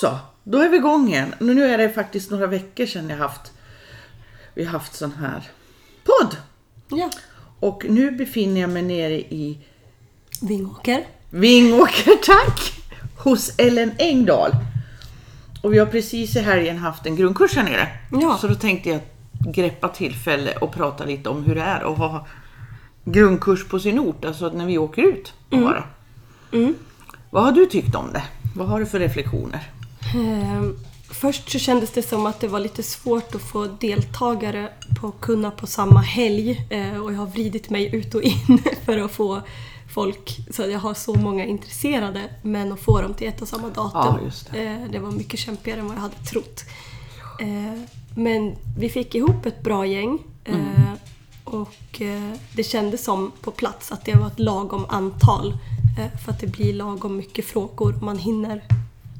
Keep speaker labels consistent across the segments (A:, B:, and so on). A: så, då är vi igång igen. Nu nu är det faktiskt några veckor sedan jag haft, vi haft sån här podd.
B: Ja.
A: Och nu befinner jag mig nere i
B: Vingåker.
A: Vingåker, tack! Hos Ellen Engdahl. Och vi har precis i helgen haft en grundkurs här nere.
B: Ja.
A: Så då tänkte jag greppa tillfälle och prata lite om hur det är att ha grundkurs på sin ort, alltså när vi åker ut. Bara. Vad har du tyckt om det? Vad har du för reflektioner?
B: Ehm, först så kändes det som att det var lite svårt att få deltagare på kunna på samma helg eh, och jag har vridit mig ut och in för att få folk, så att jag har så många intresserade, men att få dem till ett och samma datum.
A: Ja, just det.
B: Eh, det var mycket kämpigare än vad jag hade trott. Eh, men vi fick ihop ett bra gäng eh, och eh, det kändes som på plats att det var ett lagom antal eh, för att det blir lagom mycket frågor och man hinner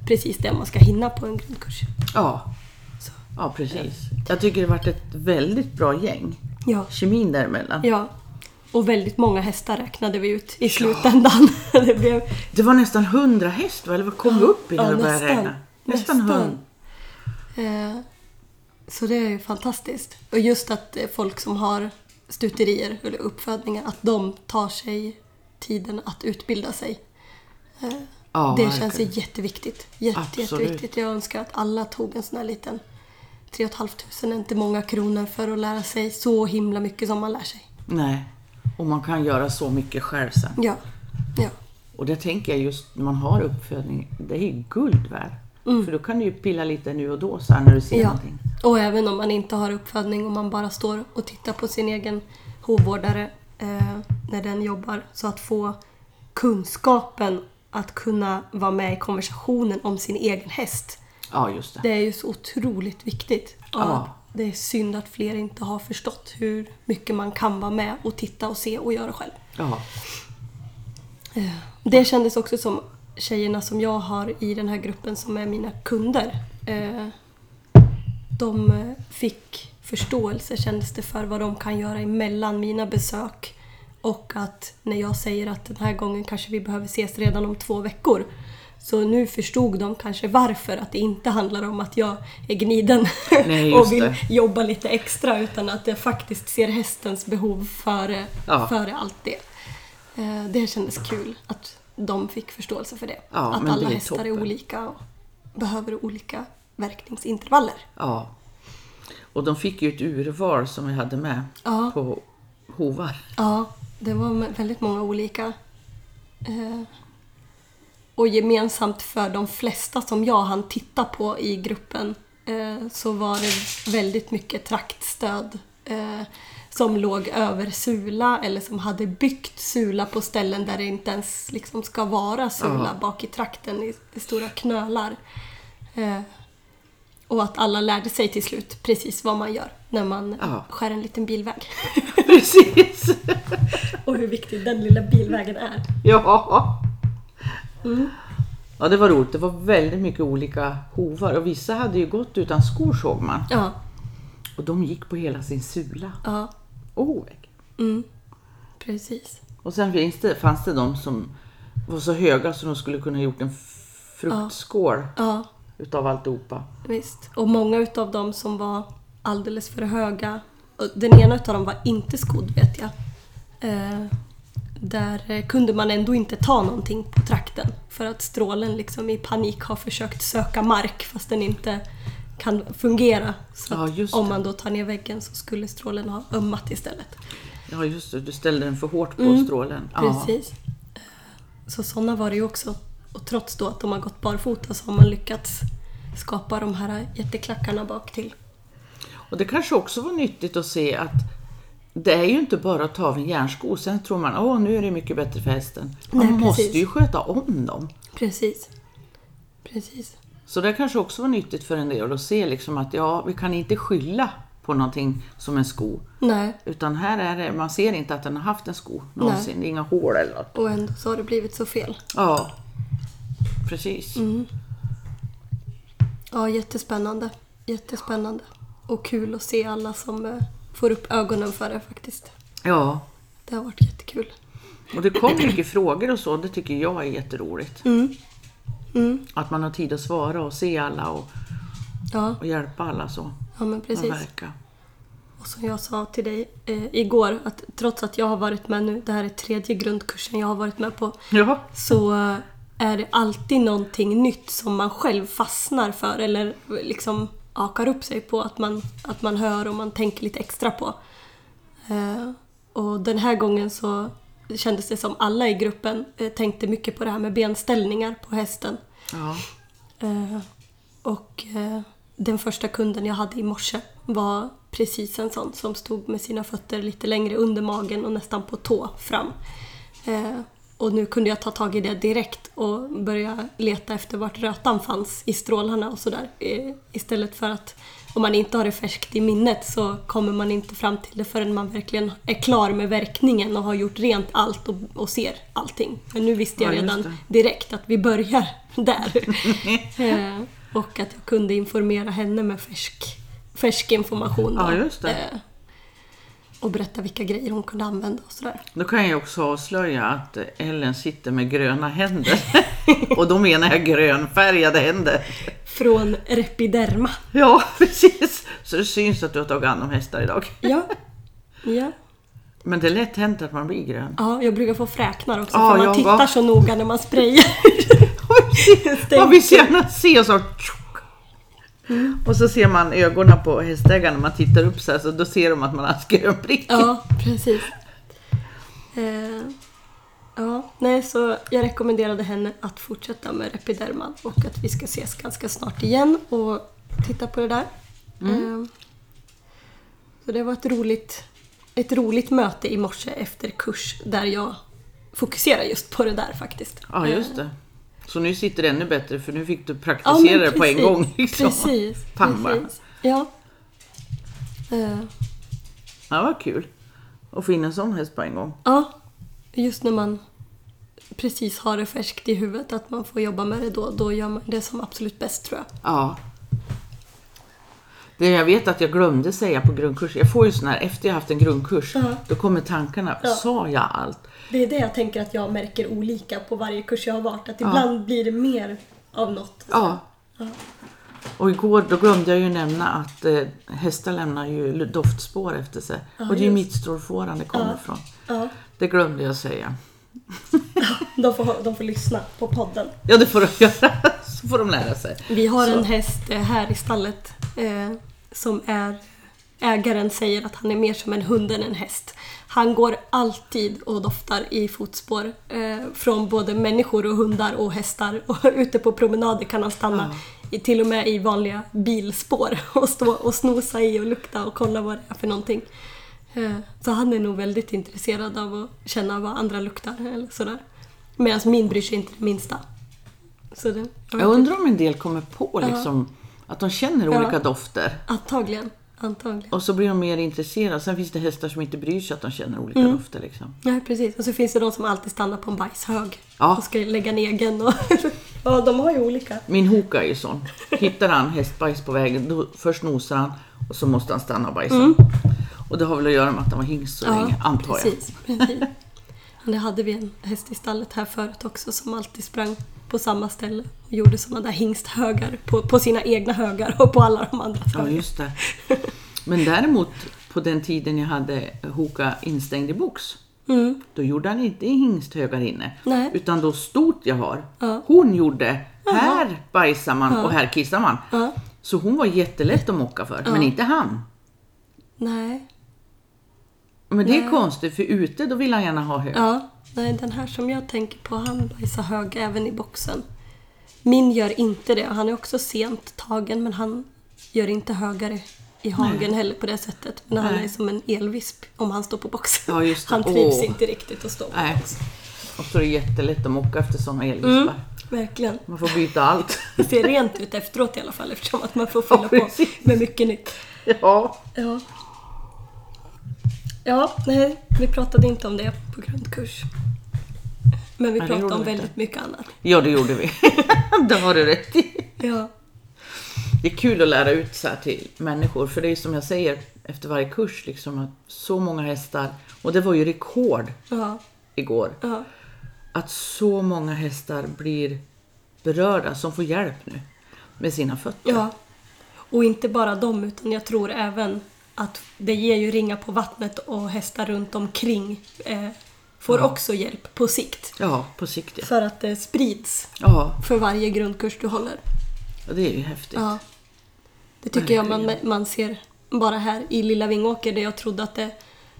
B: precis det man ska hinna på en grundkurs.
A: Ja,
B: Så.
A: ja precis. Jag tycker det varit ett väldigt bra gäng.
B: Ja.
A: Kemin däremellan.
B: ja. Och väldigt många hästar räknade vi ut i slutändan. det blev
A: Det var nästan 100 häst, va? eller vad kom vi upp i när
B: Ja,
A: det började
B: nästan.
A: regna? Nästan
B: Nästan.
A: 100.
B: Eh, Så det är ju fantastiskt. Och just att eh, folk som har stuterier eller uppfödningar, att de tar sig tiden att utbilda sig. Eh,
A: Ja,
B: det
A: verkligen.
B: känns ju jätteviktigt. Jätte,
A: Absolut.
B: jätteviktigt. Jag önskar att alla tog en sån här liten 3 500 är inte många kronor för att lära sig så himla mycket som man lär sig.
A: Nej, och man kan göra så mycket själv sen.
B: Ja. ja.
A: Och det tänker jag just när man har uppfödning, det är ju guld värt. För då kan du ju pilla lite nu och då så här när du ser
B: Mm. Ja.
A: någonting.
B: Och även om man inte har uppfödning och man bara står och tittar på sin egen hovvårdare eh, när den jobbar. Så att få kunskapen att kunna vara med i konversationen om sin egen häst.
A: Ja, just det.
B: Det är ju så otroligt viktigt. Och
A: Ja.
B: Det är synd att fler inte har förstått hur mycket man kan vara med och titta och se och göra själv.
A: Ja,
B: Eh, Det kändes också som tjejerna som jag har i den här gruppen som är mina kunder. eh, De eh, fick förståelse kändes det för vad de kan göra emellan mina besök. Och att när jag säger att den här gången kanske vi behöver ses redan om två veckor. Så nu förstod de kanske varför, att det inte handlar om att jag är gniden
A: Nej, just
B: och vill
A: det.
B: eh, jobba lite extra utan att jag faktiskt ser hästens behov före,
A: Ja.
B: före allt det. Eh, Det kändes kul att de fick förståelse för det.
A: Ja,
B: att
A: men
B: alla
A: det är
B: hästar är
A: toppen.
B: olika och behöver olika verkningsintervaller.
A: ja. Och de fick ju ett urval som vi hade med
B: Ja.
A: på hovar.
B: Ja, det var med- väldigt många olika. Eh, Och gemensamt för de flesta som jag hann titta på i gruppen eh, så var det väldigt mycket traktstöd eh, som låg över sula eller som hade byggt sula på ställen där det inte ens liksom ska vara sula bak i trakten i, i stora knölar. Eh, Och att alla lärde sig till slut precis vad man gör när man
A: Ja.
B: skär en liten bilväg.
A: Precis!
B: Och hur viktig den lilla bilvägen är.
A: Ja. Mm. Ja, det var roligt. Det var väldigt mycket olika hovar och vissa hade ju gått utan skor såg man.
B: Ja,
A: Och de gick på hela sin sula
B: ja Mm.
A: och hovvägg.
B: precis.
A: Och sen finns det, fanns det de som var så höga så de skulle kunna ha gjort en fruktskål
B: Ja,
A: utav alltihopa.
B: visst. Och många utav dem som var alldeles för höga. och Den ena utav dem var inte skodd vet jag. Eh, där eh, kunde man ändå inte ta någonting på trakten. För att strålen liksom i panik har försökt söka mark fast den inte kan fungera. Så
A: Ja,
B: att
A: just
B: om
A: det.
B: man då tar ner väggen så skulle strålen ha ömmat istället.
A: Ja just det, du ställde den för hårt på strålen. Ja.
B: Mm. Precis. Så sådana var det ju också. Och trots då att de har gått barfota så har man lyckats skapa de här jätteklackarna bak till.
A: Och det kanske också var nyttigt att se att det är ju inte bara att ta av en järnsko, sen tror man åh nu är det mycket bättre för hästen. Man
B: Nej,
A: måste
B: precis.
A: ju sköta om dem.
B: Precis. Precis.
A: Så det kanske också var nyttigt för en del att se liksom att ja, vi kan inte skylla på någonting som en sko.
B: Nej.
A: Utan här är det, man ser inte att den har haft en sko någonsin, Det är inga hål eller något.
B: Och ändå så har det blivit så fel.
A: Ja, precis.
B: Ja, jättespännande. Jättespännande. Och kul att se alla som eh, får upp ögonen för det faktiskt.
A: Ja,
B: Det har varit jättekul.
A: och det kom mycket frågor och så, det tycker jag är jätteroligt. Att man har tid att svara och se alla och,
B: Ja,
A: och hjälpa alla så.
B: ja men
A: och
B: precis.
A: verka.
B: Och som jag sa till dig eh, igår, att trots att jag har varit med nu, det här är tredje grundkursen jag har varit med på,
A: Ja.
B: så eh, är det alltid någonting nytt som man själv fastnar för eller liksom akar upp sig på att man, att man hör och man tänker lite extra på. Eh, och den här gången så kändes det som alla i gruppen eh, tänkte mycket på det här med benställningar på hästen.
A: ja.
B: Eh, och eh, den första kunden jag hade i morse var precis en sån som stod med sina fötter lite längre under magen och nästan på tå fram. Eh, och nu kunde jag ta tag i det direkt och börja leta efter vart rötan fanns i strålarna och sådär. Eh, istället för att om man inte har det färskt i minnet så kommer man inte fram till det förrän man verkligen är klar med verkningen och har gjort rent allt och, och ser allting. Men nu visste jag
A: Ja, just
B: redan
A: det.
B: direkt att vi börjar där. eh, och att jag kunde informera henne med färsk, färsk information. då.
A: Ja, just det.
B: Eh, och berätta vilka grejer hon kunde använda och sådär.
A: Då kan jag också avslöja att Ellen sitter med gröna händer. och då menar jag grönfärgade händer.
B: Från Repiderma.
A: Ja, precis. Så det syns att du har tagit hand om hästar idag.
B: Ja. ja.
A: Men det är lätt hänt att man blir grön.
B: ja, jag brukar få fräknar också
A: Ja,
B: för man
A: jag
B: tittar
A: var-
B: så noga när man sprayar.
A: Man vill så gärna se så. tjock.
B: Mm.
A: Och så ser man ögonen på hästägaren när man tittar upp så här, så då ser de att man har en grön prick.
B: Ja, precis. Eh, ja, nej, så jag rekommenderade henne att fortsätta med Repiderman och att vi ska ses ganska snart igen och titta på det där.
A: Mm.
B: Eh, så det var ett roligt, ett roligt möte i morse efter kurs där jag fokuserar just på det där faktiskt. Eh,
A: Ja, just det. Så nu sitter det ännu bättre för nu fick du
B: Ja,
A: praktisera det
B: men
A: på en
B: precis,
A: gång. Liksom.
B: Precis.
A: Pang bara.
B: precis. Ja. Eh,
A: Ja, vad kul. Att få in en sån häst på en gång.
B: Ja, just när man precis har det färskt i huvudet att man får jobba med det då, då gör man det som absolut bäst tror jag.
A: Ja. Det jag vet att jag glömde säga på grundkursen, jag får ju sån här efter jag haft en grundkurs,
B: Ja.
A: då kommer tankarna, sa jag allt?
B: Det är det jag tänker att jag märker olika på varje kurs jag har varit, att ibland blir det mer av något.
A: Ja. Och igår då glömde jag ju nämna att eh, hästar lämnar ju lu- doftspår efter sig. och det är ju
B: just.
A: mittstrålfåran det kommer
B: Ja.
A: ifrån.
B: Ja,
A: Det glömde jag säga.
B: de, får, de får lyssna på podden.
A: Ja, det får de göra. Så får de lära sig.
B: Vi har
A: Så.
B: en häst eh, här i stallet eh, som är Ägaren säger att han är mer som en hund än en häst. Han går alltid och doftar i fotspår eh, från både människor och hundar och hästar. Och ute på promenader kan han stanna i, till och med i vanliga bilspår och stå och snosa i och lukta och kolla vad det är för någonting. Eh, så han är nog väldigt intresserad av att känna vad andra luktar eller sådär. Medan min bryr sig inte det minsta. Så det,
A: Jag undrar om en del kommer på liksom, att de känner olika dofter.
B: Antagligen. Antagligen.
A: Och så blir de mer intresserade. Sen finns det hästar som inte bryr sig att de känner olika
B: Mm.
A: dofter. Liksom.
B: Ja, precis. Och så finns det de som alltid stannar på en bajshög
A: Ja.
B: och ska lägga en egen. Och ja, de har ju olika.
A: Min hoka är ju sån. Hittar han hästbajs på vägen, då först nosar han och så måste han stanna och bajsa.
B: Mm.
A: Och det har väl att göra med att han var hingst så länge, antar jag.
B: precis, precis. Men Det hade vi en häst i stallet här förut också som alltid sprang på samma ställe och gjorde sådana där hingsthögar på, på sina egna högar och på alla de andra.
A: Ja, just det. Men däremot på den tiden jag hade hoka instängd i box, då gjorde han inte hingsthögar inne.
B: Mm. Nej.
A: Utan då stort jag har, hon gjorde här bajsar man och här kissar man.
B: Ja.
A: Så hon var jättelätt att mocka för, men inte han.
B: Nej.
A: Men det är konstigt, för ute då vill han gärna ha hög.
B: Ja, nej, den här som jag tänker på, han bajsar hög även i boxen. Min gör inte det. Han är också sent tagen, men han gör inte högare i hagen heller på det sättet. Men han
A: Nej.
B: är som en elvisp om han står på boxen.
A: Ja, just det.
B: Han trivs
A: Åh.
B: inte riktigt att stå på
A: Nej.
B: boxen.
A: Och så är det jättelätt att mocka efter sådana elvispar.
B: Mm. Verkligen.
A: Man får byta allt.
B: Det ser rent ut efteråt i alla fall eftersom att man får fylla på
A: precis.
B: med mycket nytt.
A: ja.
B: Ja. Ja, nej, vi pratade inte om det på grundkurs. Men vi
A: Nej, det
B: pratade
A: gjorde
B: om
A: vi inte.
B: väldigt mycket annat.
A: ja, det gjorde vi. det har du rätt i.
B: Ja.
A: Det är kul att lära ut så här till människor, för det är som jag säger efter varje kurs, liksom att så många hästar, och det var ju rekord
B: Ja.
A: igår,
B: Ja.
A: att så många hästar blir berörda som får hjälp nu med sina fötter.
B: Ja. Och inte bara dem, utan jag tror även att det ger ju ringar på vattnet och hästar runt omkring eh, får också hjälp på sikt.
A: Ja, på sikt ja.
B: För att det sprids
A: Ja,
B: för varje grundkurs du håller.
A: och det är ju häftigt.
B: Ja. Det tycker jag man, man ser bara här i Lilla Vingåker där jag trodde att det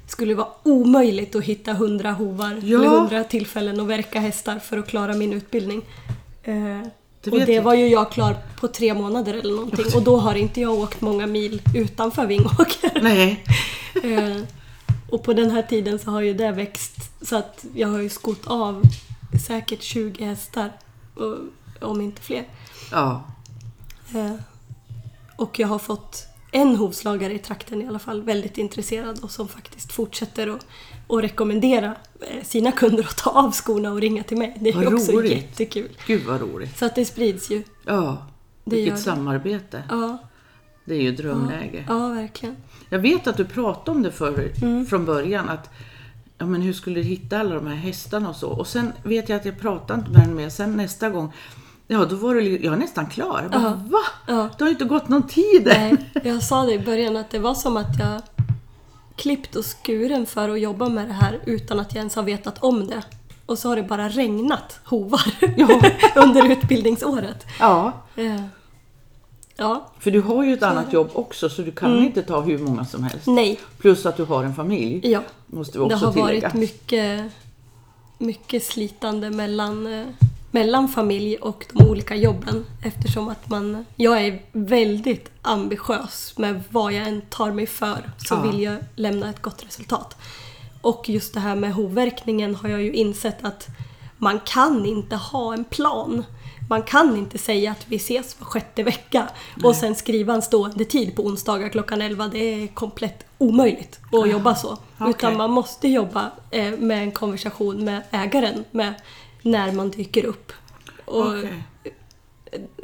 B: skulle vara omöjligt att hitta hundra hovar
A: Ja.
B: eller hundra tillfällen att verka hästar för att klara min utbildning. Eh,
A: Det
B: och
A: vet
B: det
A: jag.
B: var ju jag klar på tre månader eller någonting och då har inte jag åkt många mil utanför Vingåker.
A: Nej,
B: Eh, och på den här tiden så har ju det växt så att jag har ju skott av säkert 20 hästar, och- om inte fler.
A: ja.
B: Eh, Och jag har fått en hovslagare i trakten i alla fall väldigt intresserad och som faktiskt fortsätter att, att rekommendera eh, sina kunder att ta av skorna och ringa till mig. Det är
A: Vad
B: ju också
A: roligt.
B: jättekul.
A: Gud vad roligt.
B: Så att det sprids ju.
A: Ja,
B: Det gör
A: vilket
B: det.
A: samarbete.
B: Ja,
A: Det är ju drömläge.
B: ja Mm. verkligen.
A: Jag vet att du pratade om det förr, från början. Att, ja, men hur skulle du hitta alla de här hästarna och så. Och sen vet jag att jag pratade inte med den mer. Sen nästa gång, ja då var det, li- jag är nästan klar. Jag bara, Va?
B: Ja.
A: Det har ju inte gått någon tid än.
B: Nej, Eh, jag sa det i början att det var som att jag klippt och skuren för att jobba med det här utan att jag ens har vetat om det. Och så har det bara regnat hovar
A: Ja.
B: under utbildningsåret.
A: Ja,
B: Eh, Ja,
A: för du har ju ett annat jobb också så du kan
B: Mm.
A: inte ta hur många som helst.
B: nej.
A: Plus att du har en familj.
B: Ja,
A: Måste vi
B: det
A: också
B: har
A: tillägga.
B: varit mycket, mycket slitande mellan, eh, mellan familj och de olika jobben eftersom att man, jag är väldigt ambitiös med vad jag än tar mig för så
A: Ja.
B: vill jag lämna ett gott resultat. Och just det här med hovverkningen har jag ju insett att man kan inte ha en plan. Man kan inte säga att vi ses var sjätte vecka och sen skriva en stående tid på onsdagar klockan 11. Det är komplett omöjligt att jobba så.
A: Ah. Okej.
B: Utan man måste jobba eh, med en konversation med ägaren med när man dyker upp. Och, eh,
A: Okej.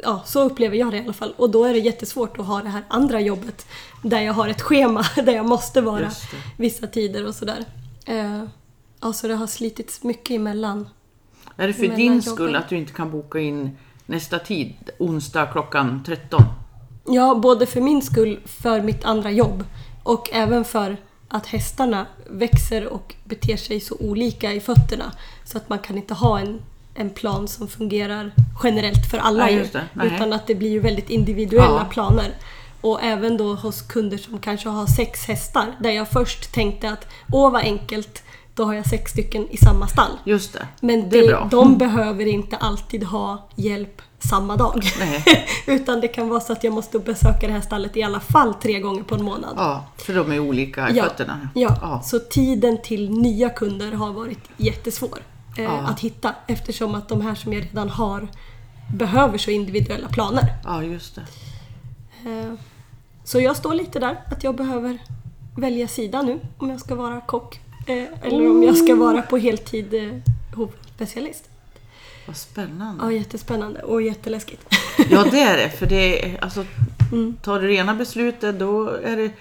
B: ja, så upplever jag det i alla fall. Och då är det jättesvårt att ha det här andra jobbet där jag har ett schema där jag måste vara
A: Just det.
B: vissa tider och sådär. Eh, ja, så det har slitits mycket emellan.
A: Är det för
B: mellan
A: din
B: jobben.
A: skull att du inte kan boka in nästa tid, onsdag klockan 13?
B: Ja, både för min skull, för mitt andra jobb och även för att hästarna växer och beter sig så olika i fötterna så att man kan inte ha en, en plan som fungerar generellt för alla
A: Nej,
B: ju,
A: just det. Nej.
B: utan att det blir ju väldigt individuella
A: Ja.
B: planer. Och även då hos kunder som kanske har sex hästar där jag först tänkte att åh vad enkelt, då har jag sex stycken i samma stall.
A: Just det,
B: Men
A: det
B: det
A: är bra. Mm.
B: de behöver inte alltid ha hjälp samma dag.
A: Nej.
B: Utan det kan vara så att jag måste besöka det här stallet i alla fall tre gånger på en månad.
A: Ja, för de är olika i
B: ja.
A: fötterna.
B: Ja. så tiden till nya kunder har varit jättesvår eh,
A: Ja.
B: att hitta eftersom att de här som jag redan har behöver så individuella planer.
A: ja, just det.
B: Eh, så jag står lite där att jag behöver välja sida nu om jag ska vara kock eh, eller om jag ska vara på heltid eh, hovspecialist.
A: Vad spännande.
B: Ja, jättespännande och jätteläskigt.
A: Ja, det är det. För det är, alltså,
B: Mm.
A: tar du det ena beslutet då är det...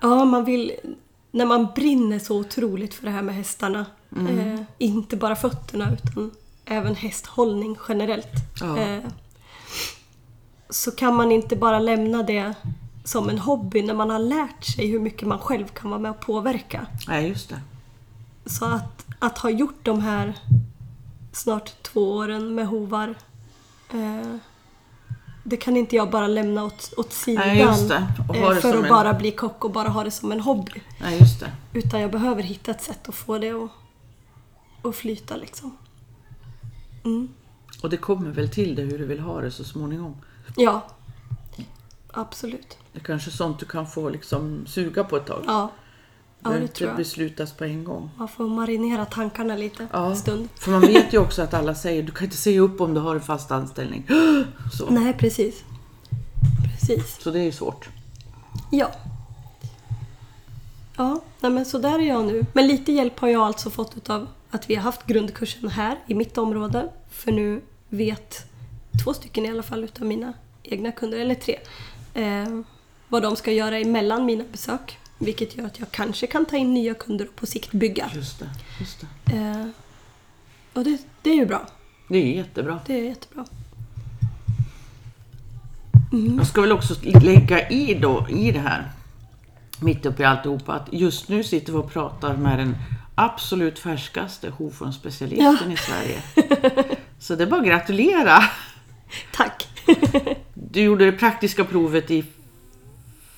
B: Ja, man vill... När man brinner så otroligt för det här med hästarna. Eh, inte bara fötterna utan även hästhållning generellt.
A: Ja.
B: Eh, så kan man inte bara lämna det som en hobby när man har lärt sig hur mycket man själv kan vara med och påverka.
A: Nej, just det.
B: Så att, att ha gjort de här snart två åren med hovar eh, det kan inte jag bara lämna åt, åt sidan
A: Nej, just det. Och ha
B: eh,
A: det
B: för
A: som
B: att
A: en-
B: bara bli kock och bara ha det som en hobby.
A: Nej, just det.
B: Utan jag behöver hitta ett sätt att få det att, att flyta liksom.
A: Och det kommer väl till dig hur du vill ha det så småningom.
B: Ja. Absolut.
A: Det är kanske sånt du kan få liksom suga på ett tag.
B: Ja. Ja,
A: behöver
B: det
A: inte
B: tror jag.
A: beslutas på en gång.
B: Man får marinera tankarna lite en stund.
A: För man vet ju också att alla säger du kan inte säga upp om du har en fast anställning. Så,
B: Nej, precis. Precis.
A: så det är ju svårt.
B: Ja. Ja, nej men så där är jag nu. Men lite hjälp har jag alltså fått utav att vi har haft grundkursen här i mitt område. För nu vet två stycken i alla fall utav mina egna kunder, eller tre, eh, vad de ska göra emellan mina besök. Vilket gör att jag kanske kan ta in nya kunder och på sikt bygga.
A: Just det. Just det.
B: Eh, och det, det är ju bra.
A: Det är jättebra.
B: Det är jättebra.
A: Jag ska väl också lägga i då, i det här, mitt uppe i alltihopa, att just nu sitter vi och pratar med den absolut färskaste hovformsspecialisten
B: Ja.
A: i Sverige. Så det är bara att gratulera!
B: Tack!
A: Du gjorde det praktiska provet i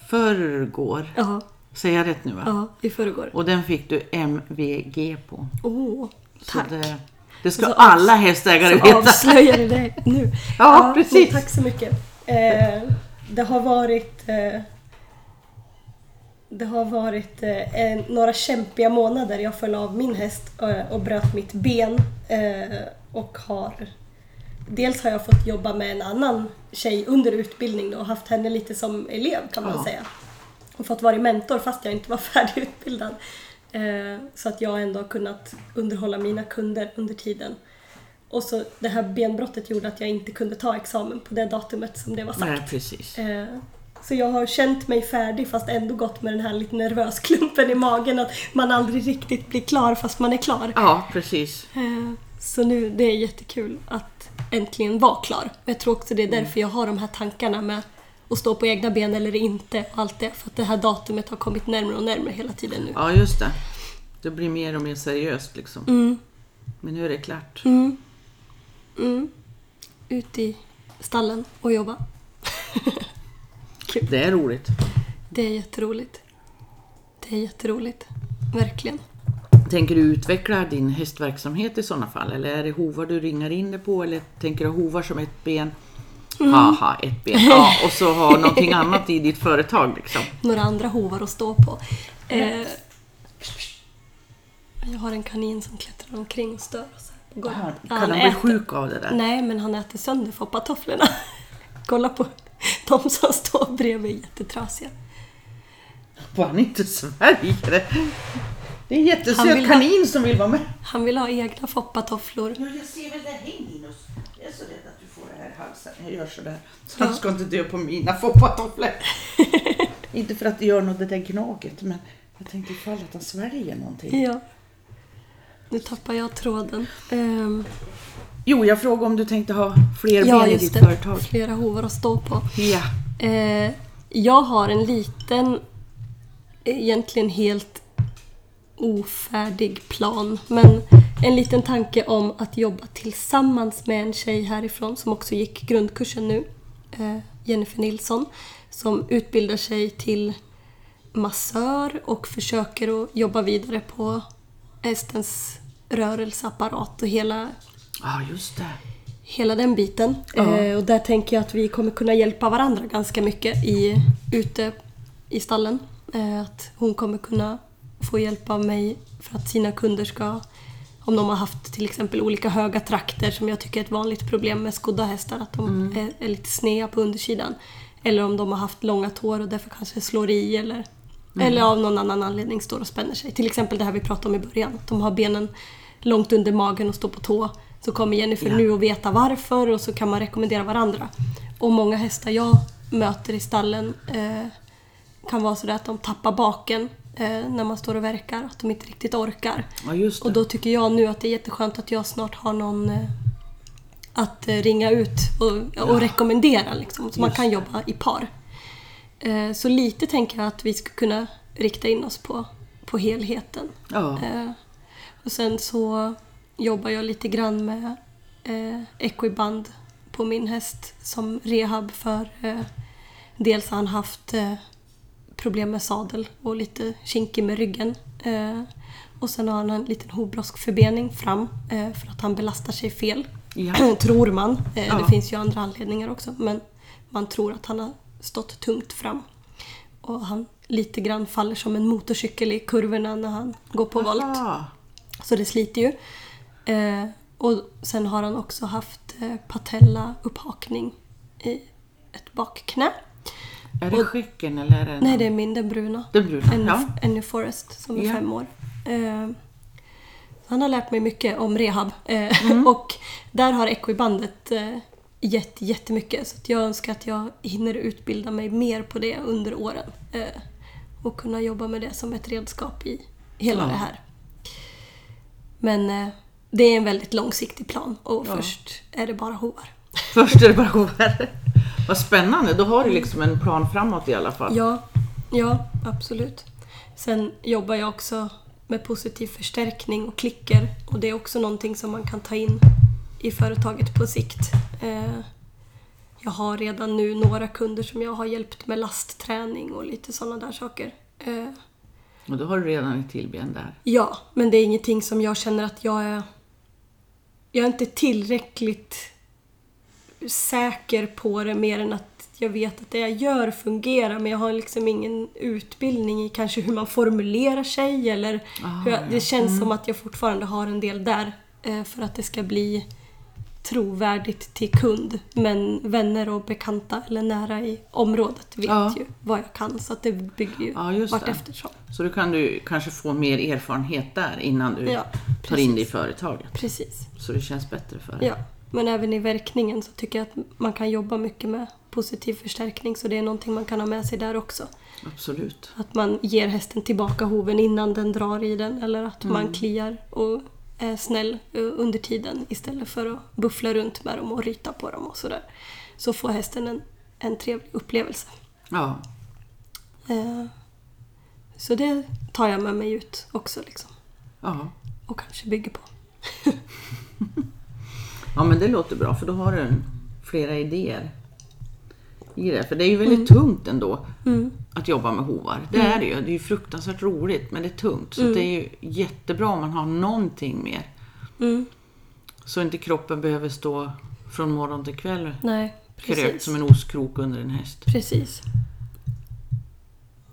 A: förrgår,
B: ja,
A: säger jag rätt nu va?
B: ja, i förrgår.
A: Och den fick du MVG på.
B: Åh, oh,
A: Så
B: tack!
A: det, det ska
B: Så avs-
A: alla hästägare
B: Så
A: veta.
B: avslöjar du det nu.
A: Ja,
B: men
A: precis.
B: Tack så mycket. Eh, det har varit, eh, det har varit eh, en, några kämpiga månader. Jag föll av min häst eh, och bröt mitt ben. Eh, och har, dels har jag fått jobba med en annan tjej under utbildning då, och haft henne lite som elev kan man
A: Ja.
B: säga. Och fått vara mentor fast jag inte var färdigutbildad. Eh, så att jag ändå har kunnat underhålla mina kunder under tiden. Och så det här benbrottet gjorde att jag inte kunde ta examen på det datumet som det var sagt.
A: Nej, precis.
B: Eh, så jag har känt mig färdig fast ändå gått med den här lite nervös klumpen i magen att man aldrig riktigt blir klar fast man är klar.
A: Ja, precis.
B: Eh, Så nu, det är jättekul att äntligen vara klar. Men Jag tror också det är därför jag har de här tankarna med att stå på egna ben eller inte. och Allt det, för att det här datumet har kommit närmare och närmare hela tiden nu.
A: Ja, just det. Det blir mer och mer seriöst liksom. Men nu är det klart.
B: Mm. Mm. Ut i stallen och jobba.
A: Det är roligt.
B: Det är jätteroligt. Det är jätteroligt. Verkligen.
A: Tänker du utveckla din hästverksamhet i sådana fall? Eller är det hovar du ringar in det på? Eller tänker du ha hovar som ett ben?
B: Mm.
A: Haha, ett ben. Ja, och så ha någonting annat i ditt företag liksom.
B: Några andra hovar att stå på. Eh, jag har en kanin som klättrar omkring och stör oss här på golvet.
A: Kan Ah, han bli
B: äter-
A: sjuk av det där?
B: Nej, men han äter sönder foppatofflorna. Kolla på de som står bredvid är jättetrasiga.
A: Vad han inte sväljer det. Det är en
B: Han vill
A: jättesöt
B: ha-
A: kanin som vill vara med.
B: Han vill ha egna foppatofflor.
A: Ja, jag ser väl det. Hej Linus! Jag är så rädd att du får det här i halsen. Jag gör sådär. Så
B: Ja.
A: han ska inte dö på mina foppatofflor. inte för att det gör något det där gnaget, men jag tänkte ifall att han sväljer någonting.
B: Ja. Nu tappar jag tråden. Ehm,
A: Jo, jag frågade om du tänkte ha fler
B: ja,
A: ben i
B: just
A: ditt
B: det.
A: företag.
B: Flera hovar att stå på.
A: Ja.
B: Eh, jag har en liten, egentligen helt ofärdig plan, men en liten tanke om att jobba tillsammans med en tjej härifrån som också gick grundkursen nu, eh, Jennifer Nilsson, som utbildar sig till massör och försöker att jobba vidare på hästens rörelseapparat och hela
A: Ja, just det.
B: hela den biten.
A: Ja.
B: Eh, och där tänker jag att vi kommer kunna hjälpa varandra ganska mycket i, ute i stallen. Eh, att hon kommer kunna få hjälp av mig för att sina kunder ska, om de har haft till exempel olika höga trakter som jag tycker är ett vanligt problem med skodda hästar, att de är, är lite snea på undersidan. Eller om de har haft långa tår och därför kanske slår i eller, eller av någon annan anledning står och spänner sig. Till exempel det här vi pratade om i början, att de har benen långt under magen och står på tå. Så kommer Jennifer nu att veta varför och så kan man rekommendera varandra. Och många hästar jag möter i stallen eh, kan vara sådär att de tappar baken eh, när man står och verkar, att de inte riktigt orkar.
A: Ja, just det.
B: Och då tycker jag nu att det är jätteskönt att jag snart har någon eh, att eh, ringa ut och, och rekommendera. Liksom, så man
A: Just
B: kan
A: det.
B: jobba i par. Eh, Så lite tänker jag att vi skulle kunna rikta in oss på, på helheten.
A: Ja.
B: Eh, Och sen så jobbar jag lite grann med eh, Equiband på min häst som rehab för eh, dels har han haft eh, problem med sadel och lite kinkig med ryggen. Eh, och sen har han en liten hovbroskförbening fram eh, för att han belastar sig fel.
A: Ja.
B: tror man. Eh,
A: Ja.
B: Det finns ju andra anledningar också men man tror att han har stått tungt fram. Och han lite grann faller som en motorcykel i kurvorna när han går på volt.
A: Aha.
B: Så det sliter ju. Eh, och sen har han också haft eh, patella-upphakning i ett bakknä.
A: Är det skäcken eller är det...
B: Nej, det är min, den bruna.
A: Den bruna,
B: Annie,
A: ja.
B: Annie Forrest som är
A: Ja.
B: fem år. Eh, han har lärt mig mycket om rehab eh,
A: Mm.
B: och där har Equibandet eh, gett jättemycket så att jag önskar att jag hinner utbilda mig mer på det under åren eh, och kunna jobba med det som ett redskap i hela
A: Ja.
B: det här. Men eh, det är en väldigt långsiktig plan och först är det bara hovar.
A: Först är det bara hovar. Vad spännande, då har du liksom en plan framåt i alla fall.
B: Ja, ja, absolut. Sen jobbar jag också med positiv förstärkning och klicker och det är också någonting som man kan ta in i företaget på sikt. Eh, Jag har redan nu några kunder som jag har hjälpt med lastträning och lite sådana där saker. Eh,
A: Och då har du redan ett tillben där.
B: Ja, men det är ingenting som jag känner att jag är... Jag är inte tillräckligt säker på det mer än att jag vet att det jag gör fungerar men jag har liksom ingen utbildning i kanske hur man formulerar sig eller
A: Ah,
B: hur jag, Det känns
A: Mm.
B: som att jag fortfarande har en del där eh, för att det ska bli trovärdigt till kund. Men vänner och bekanta eller nära i området vet
A: Ja.
B: ju vad jag kan så att det bygger ju
A: Ja, just det.
B: vart eftersom.
A: Så då kan du kanske få mer erfarenhet där innan du
B: Ja,
A: tar in det i företaget.
B: Precis.
A: Så det känns bättre för dig.
B: Ja, men även i verkningen så tycker jag att man kan jobba mycket med positiv förstärkning så det är någonting man kan ha med sig där också.
A: Absolut.
B: Att man ger hästen tillbaka hoven innan den drar i den eller att man kliar och är snäll eh, under tiden istället för att buffla runt med dem och ryta på dem och sådär. Så får hästen en, en trevlig upplevelse.
A: Ja,
B: Eh, Så det tar jag med mig ut också liksom.
A: ja.
B: Och kanske bygger på.
A: ja men det låter bra för då har du en- flera idéer i det. För det är ju väldigt tungt ändå att jobba med hovar. Det är det ju. Det är ju fruktansvärt roligt men det är tungt. Så det är ju jättebra om man har någonting mer. Så inte kroppen behöver stå från morgon till kväll
B: Nej,
A: krökt som en ostkrok under en häst.
B: Precis.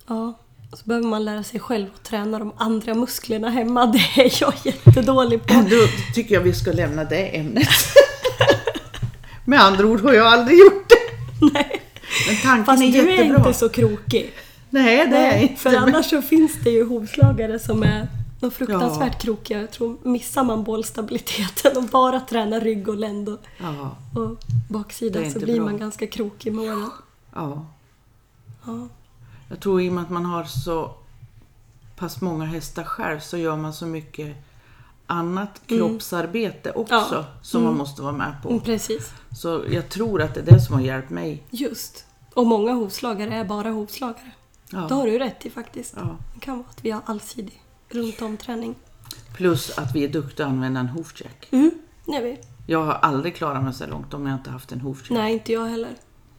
B: Ja, och så behöver man lära sig själv att träna de andra musklerna hemma. Det är jag jättedålig på.
A: Då tycker jag vi ska lämna det ämnet. Med andra ord har jag aldrig gjort det.
B: Nej.
A: Men tanken
B: Fast
A: är
B: du
A: jättebra.
B: är inte så krokig.
A: Nej, det är jag inte.
B: För
A: men-
B: annars så finns det ju hovslagare som är de fruktansvärt krokiga. Jag tror missar man bollstabiliteten och bara tränar rygg och länd och,
A: Ja,
B: och
A: Det är
B: baksidan så
A: inte
B: blir
A: bra.
B: man ganska krokig med åren.
A: ja.
B: Ja.
A: Jag tror i och med att man har så pass många hästar själv så gör man så mycket annat kroppsarbete också
B: Mm. Ja.
A: som man måste vara med på.
B: Mm, Precis.
A: Så jag tror att det är det som har hjälpt mig.
B: Just. Och många hovslagare är bara hovslagare.
A: Ja.
B: Det har du rätt i faktiskt.
A: Ja.
B: Det kan vara att vi har allsidig runt om träning.
A: Plus att vi är duktiga att använda en hoofcheck.
B: Mm, det är vi.
A: Jag har aldrig klarat mig så långt om jag inte haft en hoofcheck.
B: Nej, inte jag heller.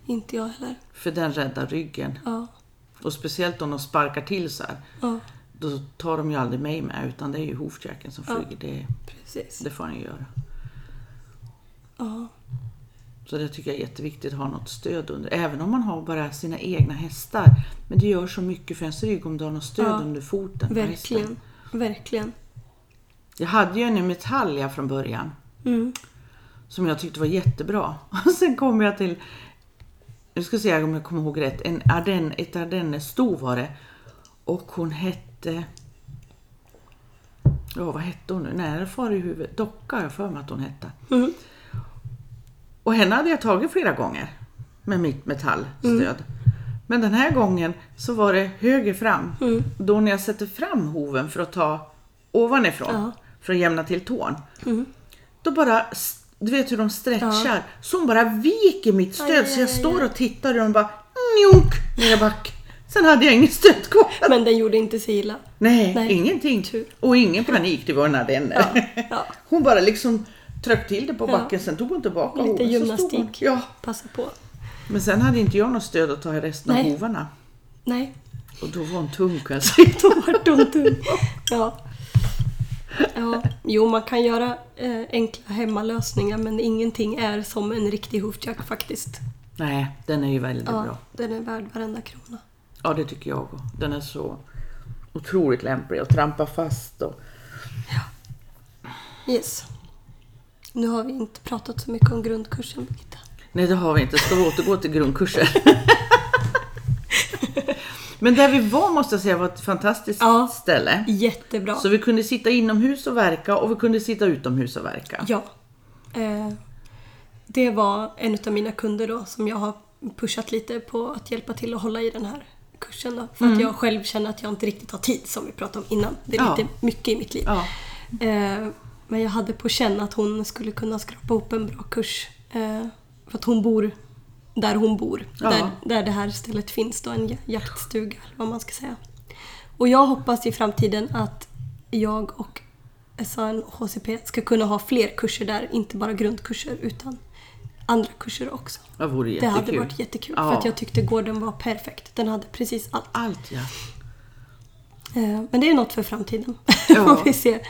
B: Inte jag heller.
A: För den räddar ryggen.
B: Ja,
A: Och speciellt om de sparkar till så här.
B: ja
A: Då tar de ju aldrig mig med utan det är ju hoofjacken som
B: Ja.
A: flyger. Det,
B: precis.
A: det får han ju göra.
B: Ja,
A: Så det tycker jag är jätteviktigt att ha något stöd under. Även om man har bara sina egna hästar. Men det gör så mycket för ens rygg om du har något stöd
B: Ja,
A: under foten. på hästen.
B: verkligen. Verkligen.
A: Jag hade ju en i metall jag från början.
B: Mm.
A: Som jag tyckte var jättebra. Och sen kom jag till, nu ska jag se om jag kommer ihåg rätt, en Arden, ett ardennesstov var det. Och hon hette, ja vad hette hon nu? Nej, det far i huvudet. Docka har jag för mig att hon hette.
B: Mm.
A: Och henne hade jag tagit flera gånger med mitt
B: Mhm.
A: metallstöd. Men den här gången så var det höger fram.
B: Mhm.
A: Då när jag sätter fram hoven för att ta ovanifrån,
B: Ja. Mhm.
A: för att jämna till tån. Då bara, s- du vet hur de stretchar, så hon bara viker mitt stöd
B: Aj, aj,
A: så jag
B: aj,
A: står och tittar och de bara njunk ner back. Sen hade jag inget stöd kvar.
B: Men den gjorde inte sig illa.
A: Nej,
B: Nej,
A: ingenting.
B: tur.
A: Och ingen panik, det var en ardenner.
B: Ja, ja.
A: Hon bara liksom tryckte till det på
B: Ja.
A: backen, sen tog hon tillbaka
B: Lite
A: hoven, så stod hon.
B: gymnastik.
A: Ja.
B: Passa på.
A: Men sen hade inte jag något stöd att ta i resten av
B: Nej.
A: hovarna.
B: Nej,
A: Och då var hon tung alltså. kan jag säga.
B: då vart hon tung. Ja. ja. Jo, man kan göra eh, enkla hemmalösningar men ingenting är som en riktig hoofjack faktiskt.
A: Nej, den är ju väldigt
B: Ja,
A: bra.
B: den är värd varenda krona.
A: Ja, det tycker jag också. Den är så otroligt lämplig att trampa fast och
B: Yes. Nu har vi inte pratat så mycket om grundkursen, Birgitta.
A: Nej, det har vi inte. Ska vi återgå till grundkurser? Men där vi var måste jag säga var ett fantastiskt
B: Ja.
A: ställe.
B: Jättebra.
A: Så vi kunde sitta inomhus och verka och vi kunde sitta utomhus och verka.
B: Ja. Eh, det var en av mina kunder då som jag har pushat lite på att hjälpa till att hålla i den här kursen. Då, för att jag själv känner att jag inte riktigt har tid som vi pratade om innan. Det är
A: Ja.
B: lite mycket i mitt liv.
A: Ja.
B: Eh, Men jag hade på känn att hon skulle kunna skrapa ihop en bra kurs. Eh, för att hon bor där hon bor.
A: Ja.
B: Där, där det här stället finns då, en ja- jaktstuga eller vad man ska säga. Och jag hoppas i framtiden att jag och SAN och HCP ska kunna ha fler kurser där, inte bara grundkurser utan andra kurser också.
A: Det vore
B: Det
A: jättekul.
B: hade varit jättekul
A: Ja.
B: för att jag tyckte gården var perfekt. Den hade precis allt.
A: Allt ja.
B: Eh, Men det är något för framtiden.
A: Ja.
B: Får vi se.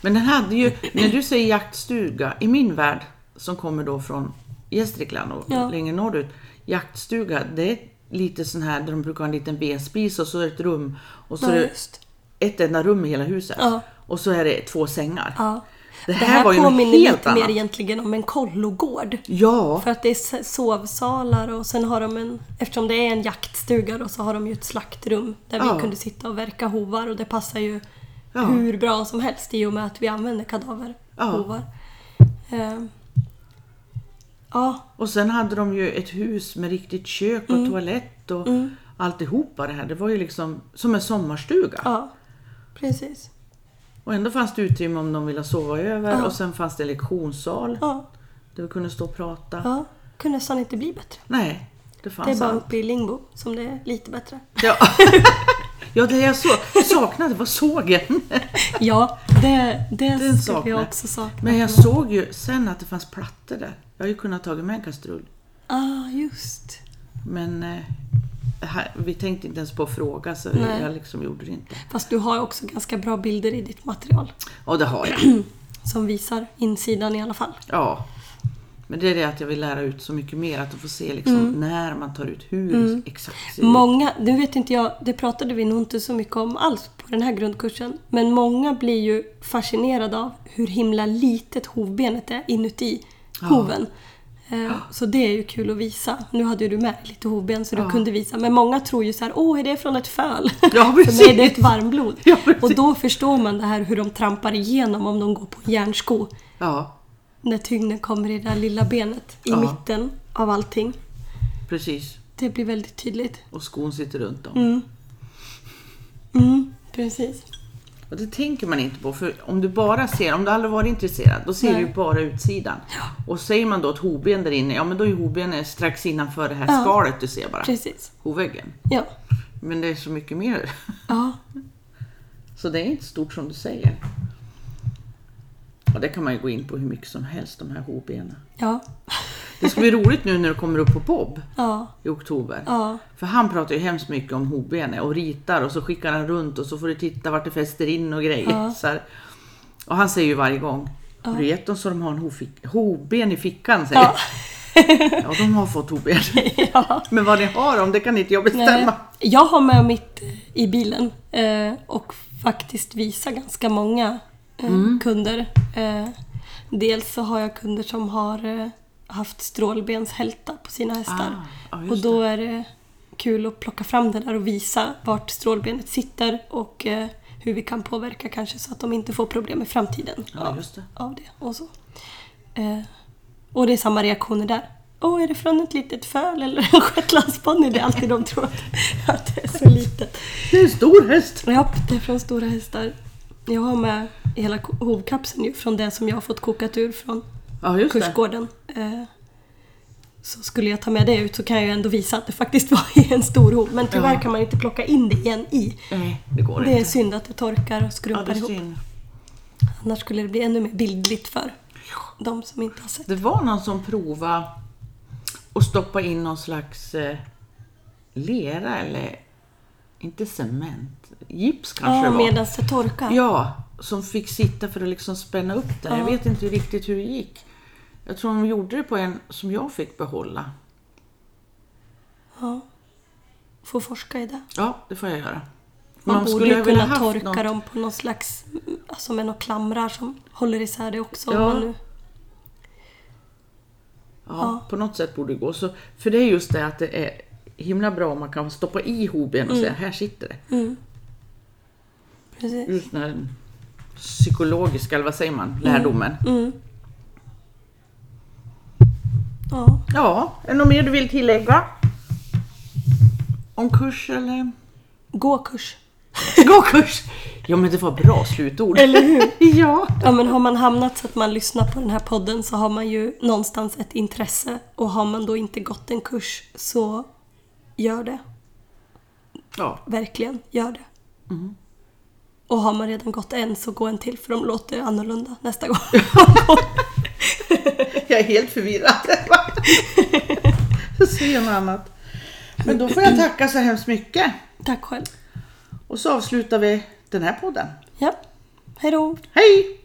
A: Men den hade ju, när du säger jaktstuga, i min värld som kommer då från Gästrikland och
B: Ja.
A: längre norrut. Jaktstuga, det är lite sån här där de brukar ha en liten vedspis och så ett rum. Och så
B: Ja,
A: är det
B: just.
A: ett enda rum i hela huset.
B: Ja.
A: Och så är det två sängar.
B: Ja.
A: Det här var ju något
B: påminner
A: helt
B: lite
A: annat.
B: mer egentligen om en kollogård.
A: Ja,
B: För att det är s- sovsalar och sen har de en... Eftersom det är en jaktstuga då så har de ju ett slaktrum där
A: Ja.
B: vi kunde sitta och verka hovar och det passar ju
A: Ja.
B: hur bra som helst i och med att vi använder kadaverhovar. Ja. ja,
A: och sen hade de ju ett hus med riktigt kök och
B: Mm.
A: toalett och alltihopa det här. Det var ju liksom som en sommarstuga.
B: ja, precis.
A: Och ändå fanns det utrymme om de ville sova över och sen fanns det lektionssal
B: Ja,
A: där vi kunde stå och prata.
B: ja. kunde nästan inte bli bättre.
A: Nej, det
B: Det
A: fanns
B: är bara
A: allt.
B: uppe i Lingbo som det är lite bättre.
A: Ja. ja, det jag så, saknade var sågen.
B: Ja, det, det
A: Den
B: skulle
A: saknar.
B: jag också sakna.
A: Men jag såg ju sen att det fanns plattor där. Jag hade ju kunnat tagit med en kastrull.
B: Ah, just.
A: Men eh, här, vi tänkte inte ens på att fråga så
B: Nej.
A: jag liksom gjorde det inte.
B: Fast du har ju också ganska bra bilder i ditt material
A: Ja, det har jag.
B: som visar insidan i alla fall.
A: Ja. Men det är det att jag vill lära ut så mycket mer. Att få se liksom
B: Mm.
A: när man tar ut hur exakt ser ut.
B: Många, nu vet inte jag, det pratade vi nog inte så mycket om alls på den här grundkursen, men många blir ju fascinerade av hur himla litet hovbenet är inuti hoven. Eh, Så det är ju kul att visa. Nu hade ju du med lite hovben så du kunde visa. Men många tror ju så här, åh är det från ett föl?
A: Ja,
B: För mig är det
A: precis.
B: ett varmblod.
A: Ja, precis.
B: och då förstår man det här hur de trampar igenom om de går på en järnsko.
A: Ja,
B: När tyngden kommer i det där lilla benet i
A: Ja.
B: mitten av allting.
A: precis.
B: Det blir väldigt tydligt.
A: Och skon sitter runt om.
B: Mm, precis.
A: Och det tänker man inte på, för om du bara ser, om du aldrig varit intresserad, då ser
B: Nej.
A: du ju bara utsidan. Och säger man då ett hoben där inne, ja men då är hobenet strax innanför det här
B: Ja.
A: skalet du ser bara,
B: Precis.
A: hoväggen.
B: Ja.
A: Men det är så mycket mer.
B: ja.
A: Så det är inte stort som du säger. Och det kan man ju gå in på hur mycket som helst, de här hobenen.
B: Ja.
A: Det ska bli roligt nu när du kommer upp på Bob
B: Ja.
A: i oktober.
B: Ja.
A: För han pratar ju hemskt mycket om hobene och ritar och så skickar han runt och så får du titta vart det fäster in och grejer.
B: Ja.
A: Så här. Och han säger ju varje gång, har du gett dem så de har en hofick- hoben i fickan? Säger
B: Ja.
A: jag. ja, de har fått hoben.
B: ja.
A: Men vad ni har dem, det kan inte jag
B: Nej.
A: bestämma.
B: Jag har med mitt i bilen eh, och faktiskt visar ganska många eh,
A: Mm.
B: kunder. Eh, dels så har jag kunder som har eh, haft strålbenshälta på sina hästar.
A: Ah, ja, just
B: och då är det kul att plocka fram det där och visa vart strålbenet sitter och eh, hur vi kan påverka kanske så att de inte får problem i framtiden
A: Ja, just det.
B: av det. Och, så. Eh, och det är samma reaktioner där. Åh, är det från ett litet föl eller en shetlandsponny? Det är alltid de tror att, att det är så litet.
A: Det är en stor häst.
B: Ja, det är från stora hästar. Jag har med hela ko- hovkapseln ju från det som jag har fått kokat ur från
A: Ja, just det.
B: kursgården. Eh, så skulle jag ta med det ut så kan jag ju ändå visa att det faktiskt var i en stor hov. Men tyvärr kan man inte plocka in det igen i.
A: Nej, det går
B: Det är
A: inte.
B: synd att det torkar och
A: Ja, det,
B: skrumpar
A: är
B: ihop.
A: synd.
B: Annars skulle det bli ännu mer bildligt för de som inte har sett.
A: det var någon som provade att stoppa in någon slags eh, lera eller, inte cement, gips kanske
B: Ja,
A: det var.
B: medan det torkar.
A: Ja, som fick sitta för att liksom spänna upp det. Jag vet inte riktigt hur det gick. Jag tror de gjorde det på en som jag fick behålla.
B: Får forska i det.
A: Ja, det får jag göra.
B: Man,
A: Men de
B: borde ju
A: ha velat
B: kunna
A: haft
B: torka
A: något-
B: dem på någon slags, mm, alltså med några klamrar som håller isär det också.
A: Ja.
B: Ja. Men nu,
A: Ja, På något sätt borde det gå. Så, för det är just det att det är himla bra om man kan stoppa i hoben och
B: Mm.
A: säga här sitter det.
B: precis.
A: Just den här psykologiska, eller vad säger man, lärdomen.
B: Ja.
A: Ja, är det något mer du vill tillägga? Om kurs eller?
B: Gå kurs.
A: Gå kurs! Ja men det var bra slutord.
B: Eller hur?
A: Ja.
B: Ja, men har man hamnat så att man lyssnar på den här podden så har man ju någonstans ett intresse och har man då inte gått en kurs så gör det.
A: ja.
B: Verkligen, gör det.
A: Mm.
B: Och har man redan gått en så gå en till för de låter annorlunda nästa gång.
A: Jag är helt förvirrad. Jag ser något annat. Men då får jag tacka så hemskt mycket.
B: Tack själv.
A: Och så avslutar vi den här podden.
B: Ja, hejdå.
A: Hej!